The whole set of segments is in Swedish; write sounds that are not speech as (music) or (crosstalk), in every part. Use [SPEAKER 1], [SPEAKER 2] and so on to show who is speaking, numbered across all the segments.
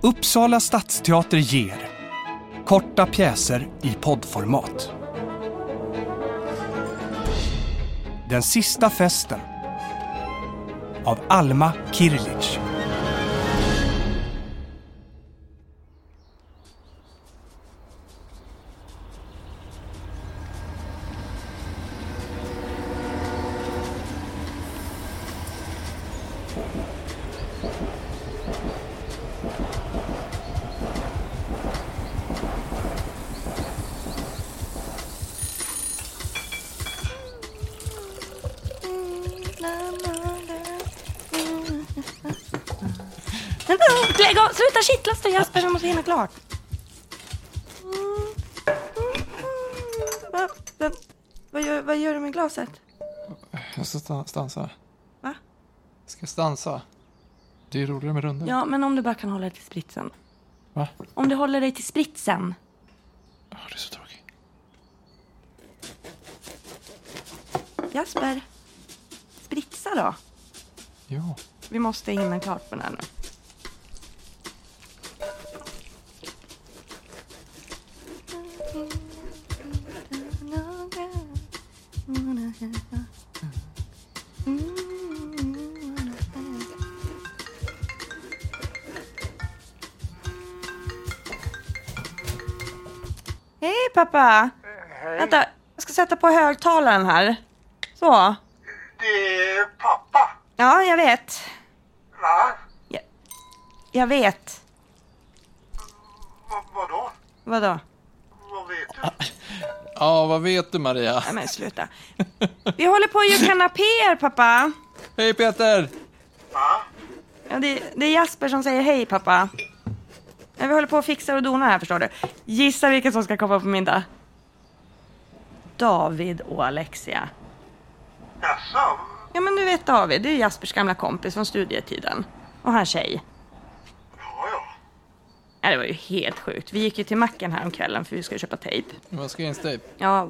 [SPEAKER 1] Uppsala stadsteater ger Korta pjäser i poddformat. Den sista festen av Alma Kirlic.
[SPEAKER 2] Vänta, lägg av! Sluta kittlas då Jasper, jag måste hinna klart. Mm. Va, va, vad, gör, vad gör du med glaset?
[SPEAKER 3] Jag ska stan- stansa.
[SPEAKER 2] Va?
[SPEAKER 3] Jag ska stansa. Det är ju roligare med rundor.
[SPEAKER 2] Ja, men om du bara kan hålla dig till spritsen.
[SPEAKER 3] Va?
[SPEAKER 2] Om du håller dig till spritsen.
[SPEAKER 3] Ja, det är så tråkigt.
[SPEAKER 2] Jasper, spritsa då.
[SPEAKER 3] Ja.
[SPEAKER 2] Vi måste hinna klart på den här nu. Hej pappa! Vänta, jag ska sätta på högtalaren här. Så.
[SPEAKER 4] Det är Eh, pappa.
[SPEAKER 2] Ja, jag vet.
[SPEAKER 4] Va?
[SPEAKER 2] Jag vet.
[SPEAKER 4] Va vadå?
[SPEAKER 2] Vadå?
[SPEAKER 4] Vad vet du?
[SPEAKER 3] Ja, vad vet du Maria?
[SPEAKER 2] Nej men sluta. Vi håller på att göra kanapéer pappa.
[SPEAKER 3] Hej Peter!
[SPEAKER 4] Va?
[SPEAKER 2] Ja, det, det är Jasper som säger hej pappa. Ja, vi håller på och fixar och donar här förstår du. Gissa vilka som ska komma på middag. David och Alexia.
[SPEAKER 4] Jaså?
[SPEAKER 2] Ja men du vet David, det är Jaspers gamla kompis från studietiden. Och hans tjej.
[SPEAKER 4] Ja, ja.
[SPEAKER 2] Ja, det var ju helt sjukt. Vi gick ju till macken här om kvällen för vi ska ju köpa tejp.
[SPEAKER 3] Maskeringstejp.
[SPEAKER 2] Ja.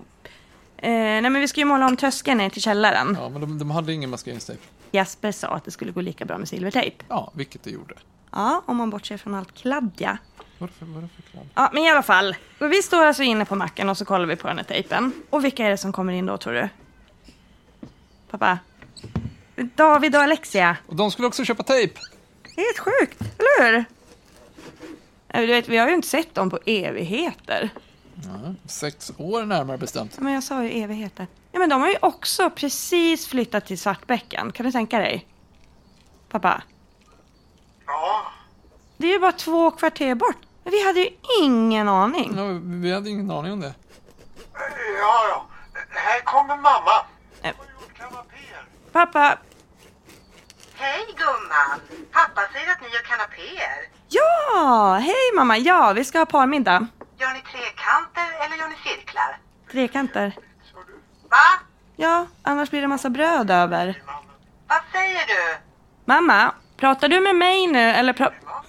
[SPEAKER 2] Eh, nej men vi ska ju måla om tröskeln ner till källaren.
[SPEAKER 3] Ja, men de, de hade ingen maskeringstejp.
[SPEAKER 2] Jasper sa att det skulle gå lika bra med silvertejp.
[SPEAKER 3] Ja, vilket det gjorde.
[SPEAKER 2] Ja, om man bortser från allt kladdiga.
[SPEAKER 3] Vad är det för, vad är det för kladd?
[SPEAKER 2] Ja, men i alla fall. Och Vi står alltså inne på macken och så kollar vi på den här tejpen. Och vilka är det som kommer in då, tror du? Pappa? David och Alexia.
[SPEAKER 3] Och de skulle också köpa tejp!
[SPEAKER 2] Det är helt sjukt, eller hur? Ja, Du vet, vi har ju inte sett dem på evigheter.
[SPEAKER 3] Ja, sex år närmare bestämt.
[SPEAKER 2] Ja, Men jag sa ju evigheter. Ja, men de har ju också precis flyttat till Svartbäcken. Kan du tänka dig? Pappa?
[SPEAKER 4] Ja.
[SPEAKER 2] Det är ju bara två kvarter bort. Men vi hade ju ingen aning.
[SPEAKER 3] Ja, vi- vi hade ingen aning om det.
[SPEAKER 4] Ja, ja. Här kommer mamma.
[SPEAKER 2] Nej.
[SPEAKER 4] Hon har gjort kanapéer.
[SPEAKER 2] Pappa,
[SPEAKER 5] Hej gumman! Pappa säger att ni gör kanapéer.
[SPEAKER 2] Ja, hej mamma. Ja, vi ska ha parmiddag.
[SPEAKER 5] Gör ni trekanter eller gör ni cirklar?
[SPEAKER 2] Trekanter.
[SPEAKER 4] Så du,
[SPEAKER 5] Va?
[SPEAKER 2] Ja, annars blir det massa bröd över.
[SPEAKER 4] mannen.
[SPEAKER 5] Vad säger du?
[SPEAKER 2] Mamma, pratar du med mig nu eller pra-
[SPEAKER 5] Mannen.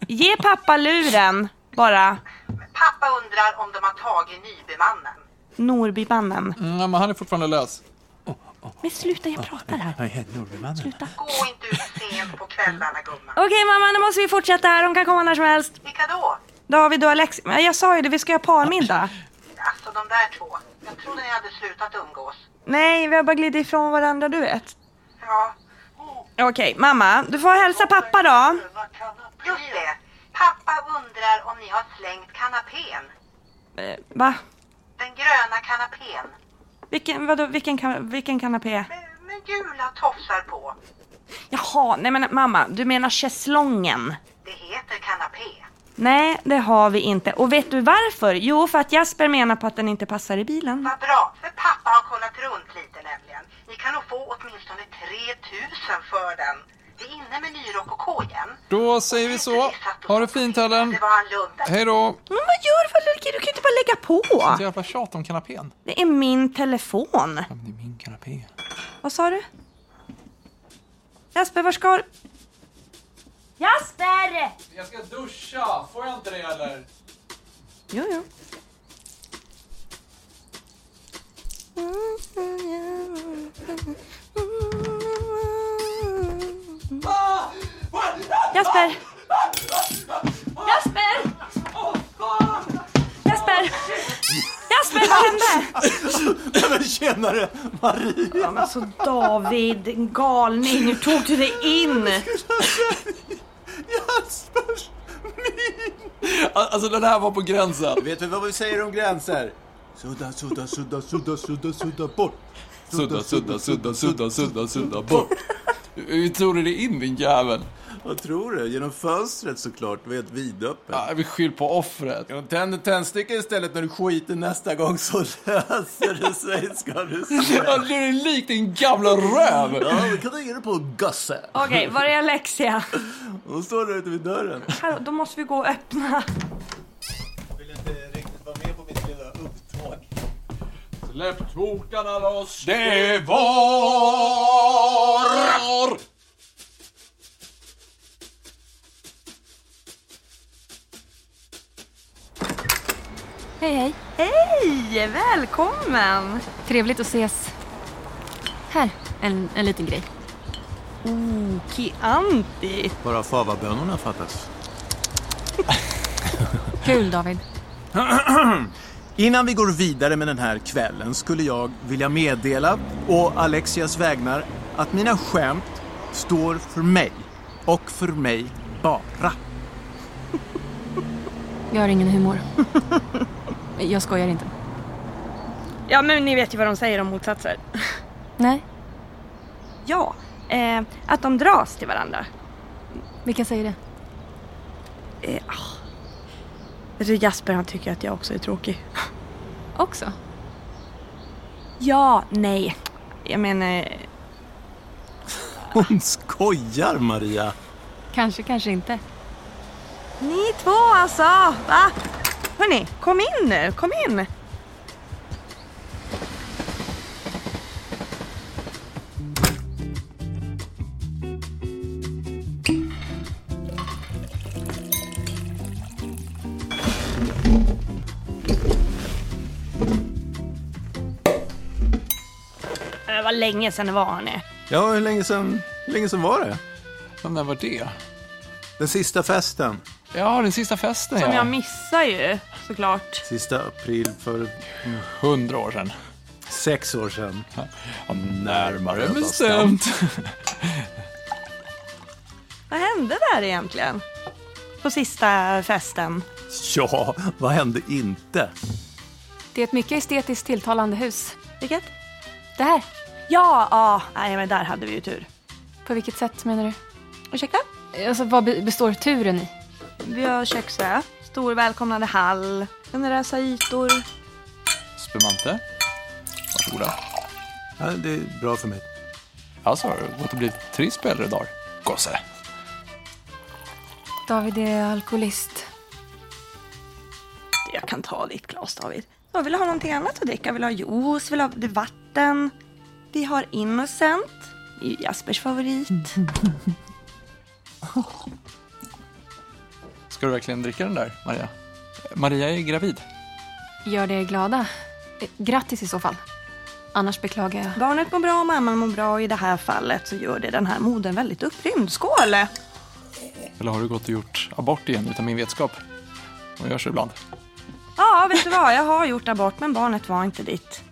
[SPEAKER 2] Ge pappa luren bara.
[SPEAKER 5] Pappa undrar om de har tagit nybymannen.
[SPEAKER 2] Norbymannen.
[SPEAKER 3] Mm, ja, men han är fortfarande lös.
[SPEAKER 2] Men sluta, jag pratar här. Sluta.
[SPEAKER 5] Gå inte ut sent på kvällarna gumman.
[SPEAKER 2] Okej mamma, nu måste vi fortsätta här. De kan komma när som helst.
[SPEAKER 5] Vilka då?
[SPEAKER 2] David och Alex. Men Jag sa ju det, vi ska ha parmiddag.
[SPEAKER 5] Alltså de där två. Jag trodde ni hade slutat umgås.
[SPEAKER 2] Nej, vi har bara glidit ifrån varandra, du vet.
[SPEAKER 5] Ja,
[SPEAKER 2] Okej, mamma. Du får hälsa pappa då.
[SPEAKER 4] Gröna kanapéer.
[SPEAKER 5] just det. Pappa undrar om ni har slängt kanapén.
[SPEAKER 2] Eh, va?
[SPEAKER 5] Den gröna kanapén.
[SPEAKER 2] Vilken, vadå, vilken, kan- vilken kanapé?
[SPEAKER 5] Med, med gula tofsar på.
[SPEAKER 2] Jaha, nej men mamma, du menar schäslongen?
[SPEAKER 5] Det heter kanapé.
[SPEAKER 2] Nej, det har vi inte. Och vet du varför? Jo, för att Jasper menar på att den inte passar i bilen.
[SPEAKER 5] Vad bra, för pappa har kollat runt lite nämligen. Ni kan nog få åtminstone 3000 för den. Vi är inne med ny rokoko igen.
[SPEAKER 3] Då säger vi så. Ha det fint Helen.
[SPEAKER 5] Det var en lunde.
[SPEAKER 3] Hej då!
[SPEAKER 2] Men vad gör du för allergi? Du kan ju inte bara lägga
[SPEAKER 3] Sånt
[SPEAKER 2] på.
[SPEAKER 3] jävla tjat om kanapén.
[SPEAKER 2] Det är min telefon.
[SPEAKER 3] Ja, men det är min kanapé.
[SPEAKER 2] Vad sa du? Jasper, var ska du? Jasper!
[SPEAKER 3] Jag ska duscha! Får jag inte det eller?
[SPEAKER 2] Jo, jo. Jasper! men vad hände?
[SPEAKER 6] Nej men tjenare Marie!
[SPEAKER 2] Ja, men alltså David, en galning, hur tog du dig in?
[SPEAKER 6] Jaspers min!
[SPEAKER 3] Alltså den här var på gränsen.
[SPEAKER 6] Vet du vad vi säger om gränser? Sudda, sudda, sudda, sudda, sudda, sudda bort!
[SPEAKER 3] Sudda, sudda, sudda, sudda, sudda, sudda bort. Hur tog du dig in din jävel?
[SPEAKER 6] Vad tror du? Genom fönstret såklart, det var helt vidöppet.
[SPEAKER 3] Ja, vi skyll på offret.
[SPEAKER 6] De tänder tändstickor istället när du skiter nästa gång så löser det sig ska du se.
[SPEAKER 3] Ja, Du är lik din gamla röv.
[SPEAKER 6] Ja, vi kan ta in det på gosse.
[SPEAKER 2] Okej, var är Alexia?
[SPEAKER 6] Hon står där ute vid dörren.
[SPEAKER 2] Här, då måste vi gå och öppna.
[SPEAKER 6] Vill inte riktigt vara med på mitt lilla upptåg.
[SPEAKER 3] Släpp tokarna loss. Det var...
[SPEAKER 7] Hej, hej.
[SPEAKER 2] Hej, välkommen!
[SPEAKER 7] Trevligt att ses. Här, en, en liten grej.
[SPEAKER 2] Kianti.
[SPEAKER 6] Bara favabönorna fattas.
[SPEAKER 7] (laughs) Kul, David.
[SPEAKER 6] (clears throat) Innan vi går vidare med den här kvällen skulle jag vilja meddela å Alexias vägnar att mina skämt står för mig och för mig bara.
[SPEAKER 7] Jag har ingen (laughs) humor. Jag skojar inte.
[SPEAKER 2] Ja, men ni vet ju vad de säger om motsatser.
[SPEAKER 7] Nej,
[SPEAKER 2] Ja, eh, att de dras till varandra.
[SPEAKER 7] vilka säger det?
[SPEAKER 2] Vet du, Jasper han tycker att jag också är tråkig.
[SPEAKER 7] Också?
[SPEAKER 2] Ja, nej. Jag menar, eh,
[SPEAKER 6] Hon skojar Maria.
[SPEAKER 7] Kanske, kanske inte.
[SPEAKER 2] ni två alltså, va? Hörni, kom in nu, kom in. Men Det var Äh, länge sedan det var hörni.
[SPEAKER 6] Ja, hur länge sedan, hur länge sedan var det?
[SPEAKER 3] Men när var det?
[SPEAKER 6] Den sista festen.
[SPEAKER 3] Ja, den sista festen
[SPEAKER 2] Som jag
[SPEAKER 3] ja.
[SPEAKER 2] missar ju såklart.
[SPEAKER 6] Sista april för
[SPEAKER 3] Hundra år sedan.
[SPEAKER 6] sex år sedan.
[SPEAKER 3] Ja,
[SPEAKER 6] Närmare
[SPEAKER 3] närmare bestämt.
[SPEAKER 2] Vad hände där egentligen? På sista festen.
[SPEAKER 6] Ja, vad hände inte?
[SPEAKER 7] Det är ett mycket estetiskt tilltalande hus.
[SPEAKER 2] Vilket?
[SPEAKER 7] Det här.
[SPEAKER 2] Ja, ja, nej men där hade vi ju tur.
[SPEAKER 7] På vilket sätt menar du?
[SPEAKER 2] Ursäkta?
[SPEAKER 7] Alltså, vad be- består turen i?
[SPEAKER 2] Vi har köksö, stor välkomnande hall, generösa ytor.
[SPEAKER 3] Spumante. Varsågoda.
[SPEAKER 6] Ja, det är bra för mig.
[SPEAKER 3] Alltså, har det gått och blivit tre spelare idag? Gosse.
[SPEAKER 7] David är alkoholist.
[SPEAKER 2] Du, Jag kan ta ditt glas David. Jag vill ha någonting annat att dricka, vill ha juice, vill ha det är vatten. Vi har Innocent, det är ju Jaspers favorit.
[SPEAKER 3] Ska du verkligen dricka den där, Maria? Maria är gravid.
[SPEAKER 7] Gör det glada. Eh, Grattis i så fall. Annars beklagar jag.
[SPEAKER 2] Barnet mår bra och mamman mår bra och i det här fallet så gör det den här modern väldigt upprymd. Skål!
[SPEAKER 3] Eller har du gått och gjort abort igen utan min vetskap? Hon gör så ibland.
[SPEAKER 2] Ja, vet du vad? Jag har gjort abort men barnet var inte ditt.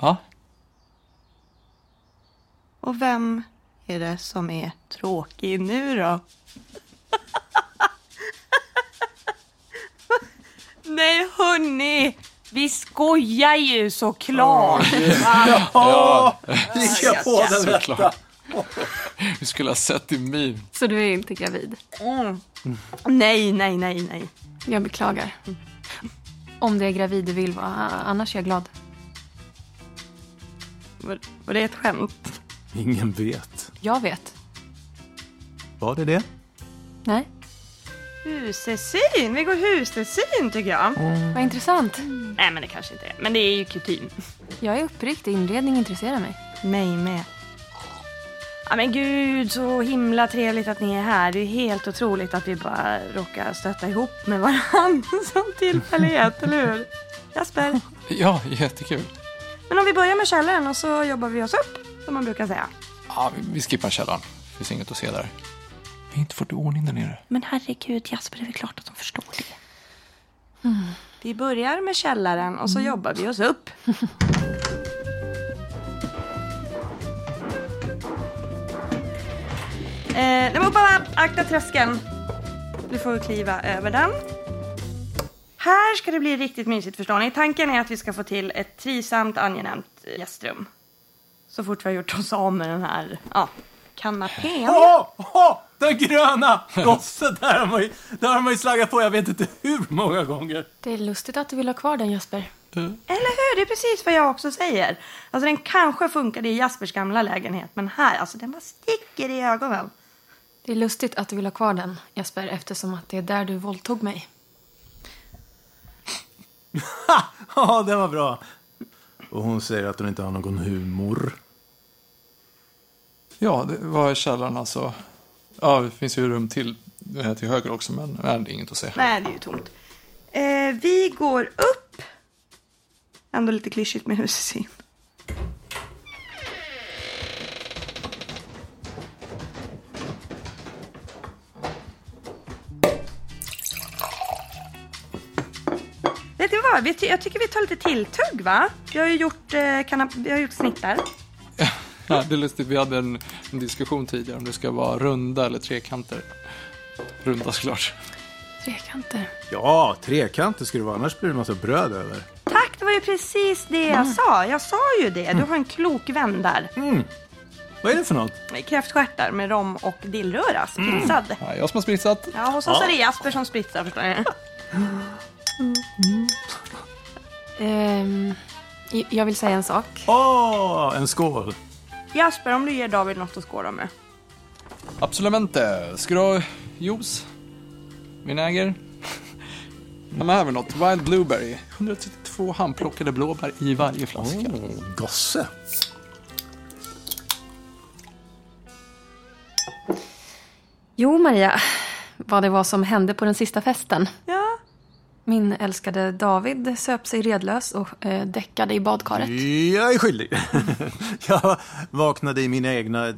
[SPEAKER 3] Ja,
[SPEAKER 2] Och vem är det som är tråkig nu då? (laughs) Nej hörni, vi skojar ju såklart.
[SPEAKER 6] Gick jag på den där?
[SPEAKER 3] såklart. (laughs) Vi skulle ha sett din min.
[SPEAKER 7] Så du är inte gravid?
[SPEAKER 2] Mm. Nej, nej, nej, nej.
[SPEAKER 7] Jag beklagar. Om det är gravid du vill vara, a- annars är jag glad.
[SPEAKER 2] Var, var det ett skämt?
[SPEAKER 6] Ingen vet.
[SPEAKER 7] Jag vet.
[SPEAKER 6] Var det det?
[SPEAKER 7] Nej,
[SPEAKER 2] Husesyn, vi går husesyn tycker jag.
[SPEAKER 7] vad intressant.
[SPEAKER 2] Nej men det kanske inte är, men det är ju kutym.
[SPEAKER 7] Jag är uppriktig, inredning intresserar mig.
[SPEAKER 2] Mig med. Ja men gud, så himla trevligt att ni är här. Det är ju helt otroligt att vi bara råkar stöta ihop med varandra (laughs) som tillfällighet, eller hur? Jasper?
[SPEAKER 3] Ja, jättekul.
[SPEAKER 2] Men om vi börjar med källaren och så jobbar vi oss upp, som man brukar säga.
[SPEAKER 3] Ja, vi- vi skippar källaren. Det finns inget att se där. Vi har inte fått ordning där nere.
[SPEAKER 2] Men herregud Jasper, det är väl klart att de förstår det. Vi börjar med källaren och så jobbar vi oss upp. eh, nej men upp, upp, upp. akta tröskeln. Du får kliva över den. Här ska det bli riktigt mysigt förstår ni. Tanken är att vi ska få till ett trivsamt angenämt eh, gästrum. Så fort vi har gjort oss av med den här ja, kanapén.
[SPEAKER 6] Åh, åh, den gröna! Gosse, där har man ju, där har man ju slaggat på jag vet inte hur många gånger.
[SPEAKER 7] Det är lustigt att du vill ha kvar den Jesper.
[SPEAKER 2] Eller hur? Det är precis vad jag också säger. Alltså den kanske funkade i Jaspers gamla lägenhet, men här, alltså den bara sticker i ögonen.
[SPEAKER 7] Det är lustigt att du vill ha kvar den Jesper eftersom att det är där du våldtog mig.
[SPEAKER 6] Ha! Ja, den var bra. Och hon säger att hon inte har någon humor.
[SPEAKER 3] Ja, det var källaren alltså. Ja, det finns ju rum till, eh, till höger också, men nej, det är inget att säga.
[SPEAKER 2] Nej, det är ju tomt. Eh, vi går upp. Ändå lite klyschigt med husesyn. Vet ni vad? Vi ty- Jag tycker vi tar lite tilltugg, va? Vi har ju gjort, eh, kanap- vi har gjort snittar.
[SPEAKER 3] Ja, det är lustigt, vi hade en, en diskussion tidigare om det ska vara runda eller trekanter. Runda såklart.
[SPEAKER 7] Trekanter.
[SPEAKER 6] Ja, trekanter ska det vara, annars blir det en massa bröd över.
[SPEAKER 2] Tack, det var ju precis det jag sa. Jag sa ju det. Du har en klok vän där.
[SPEAKER 6] Vad är det för något?
[SPEAKER 2] Kräftstjärtar med rom och dillröra. Spritsad.
[SPEAKER 3] Ja, jag som har spritsat.
[SPEAKER 2] Mm. Ja, hos oss är det Jasper som spritsar förstår ni.
[SPEAKER 7] Ehm, j- jag vill säga en sak.
[SPEAKER 6] Åh, en skål.
[SPEAKER 2] Jasper, om du ger David något att skåla med.
[SPEAKER 3] Absolutamente. Ska du ha juice? Vinäger? Ja, men här har vi något. Wild Blueberry. 132 handplockade blåbär i varje flaska.
[SPEAKER 6] Gosse.
[SPEAKER 7] Jo Maria, vad det var som hände på den sista festen.
[SPEAKER 2] Ja.
[SPEAKER 7] Min älskade David söp sig redlös och eh, däckade i badkaret.
[SPEAKER 6] Jag är skyldig. (laughs) jag vaknade i mina egna...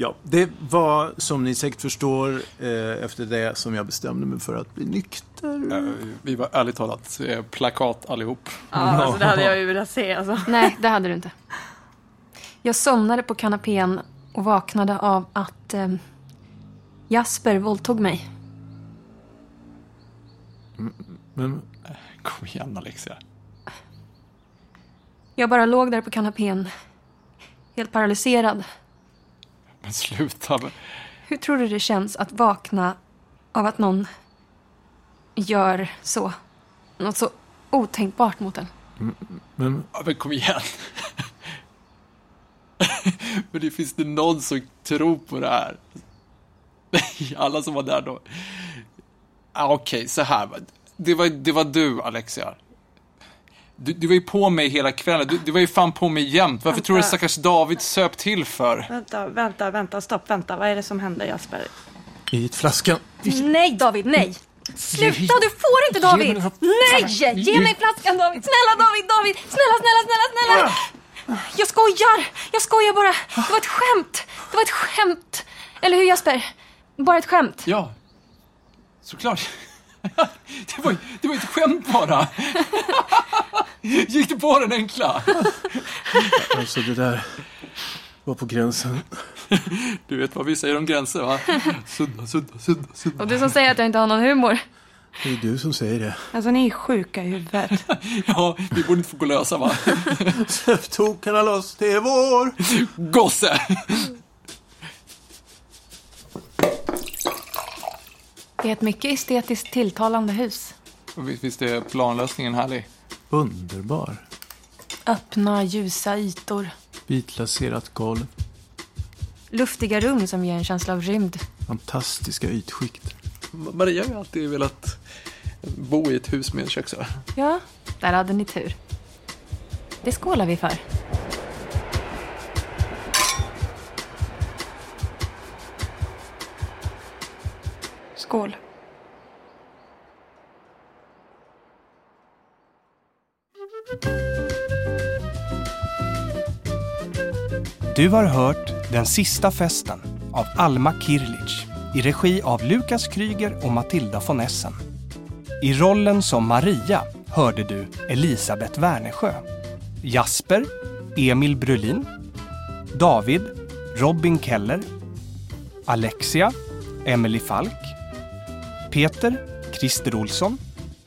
[SPEAKER 6] Ja, det var som ni säkert förstår eh, efter det som jag bestämde mig för att bli nykter.
[SPEAKER 3] Vi var ärligt talat eh, plakat allihop.
[SPEAKER 2] Ja, alltså det hade jag ju velat se alltså.
[SPEAKER 7] Nej, det hade du inte. Jag somnade på kanapén och vaknade av att eh, Jasper våldtog mig.
[SPEAKER 6] Men
[SPEAKER 3] Eh, Kom igen Alexia.
[SPEAKER 7] Jag bara låg där på kanapén, helt paralyserad.
[SPEAKER 3] Men sluta. men-
[SPEAKER 7] Hur tror du det känns att vakna av att någon gör så? Något så otänkbart mot en.
[SPEAKER 3] Ja, men kom igen. (laughs) men det finns det någon som tror på det här? (laughs) Nej, Alla som var där då. Ah, Okej, så här. va. Det var, det var du, Alexia. Du, du var ju på mig hela kvällen. Du, du var ju fan på mig jämt. Varför tror du stackars David söp till för?
[SPEAKER 2] Vänta, vänta, vänta, stopp, vänta. Vad är det som händer Jasper?
[SPEAKER 6] i flaskan.
[SPEAKER 7] Nej, David, nej! Sluta, du får inte David! Nej! Ge mig flaskan David! Snälla David, David! Snälla, snälla, snälla, snälla! Jag skojar! Jag skojar bara! Det var ett skämt! Det var ett skämt! Eller hur Jasper? Bara ett skämt.
[SPEAKER 3] Ja, såklart. (laughs) det, var, ju- det var ju ett skämt bara. (laughs) Gick du på den enkla?
[SPEAKER 6] Alltså det där var på gränsen.
[SPEAKER 3] Du vet vad vi säger om gränser, va? Sudda, sudda, sudda, sudda.
[SPEAKER 7] Och du som säger att jag inte har någon humor.
[SPEAKER 6] Det är du som säger (laughs) det.
[SPEAKER 2] Alltså ni är sjuka i huvudet.
[SPEAKER 3] Ja, vi borde inte få gå lösa va?
[SPEAKER 6] Tokarna loss, det är vår!
[SPEAKER 3] Gosse!
[SPEAKER 7] Det är ett mycket estetiskt tilltalande hus.
[SPEAKER 3] Visst är planlösningen härlig?
[SPEAKER 6] Underbar.
[SPEAKER 7] Öppna, ljusa ytor.
[SPEAKER 6] Vitlaserat golv.
[SPEAKER 7] Luftiga rum som ger en känsla av rymd.
[SPEAKER 6] Fantastiska ytskikt.
[SPEAKER 3] Maria har ju alltid velat bo i ett hus med en köksö.
[SPEAKER 7] Ja, där hade ni tur. Det skålar vi för.
[SPEAKER 2] Skål.
[SPEAKER 1] Du har hört Den sista festen av Alma Kirlic i regi av Lukas Kryger och Matilda von Essen. I rollen som Maria hörde du Elisabeth Wernersjö, Jasper Emil Brulin, David Robin Keller, Alexia Emily Falk, Peter Christer Olsson,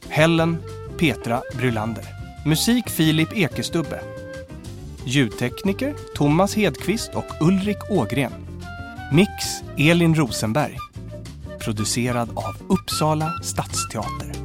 [SPEAKER 1] Helen Petra Brulander. Musik Filip Ekestubbe. Ljudtekniker Thomas Hedqvist och Ulrik Ågren. Mix Elin Rosenberg. Producerad av Uppsala stadsteater.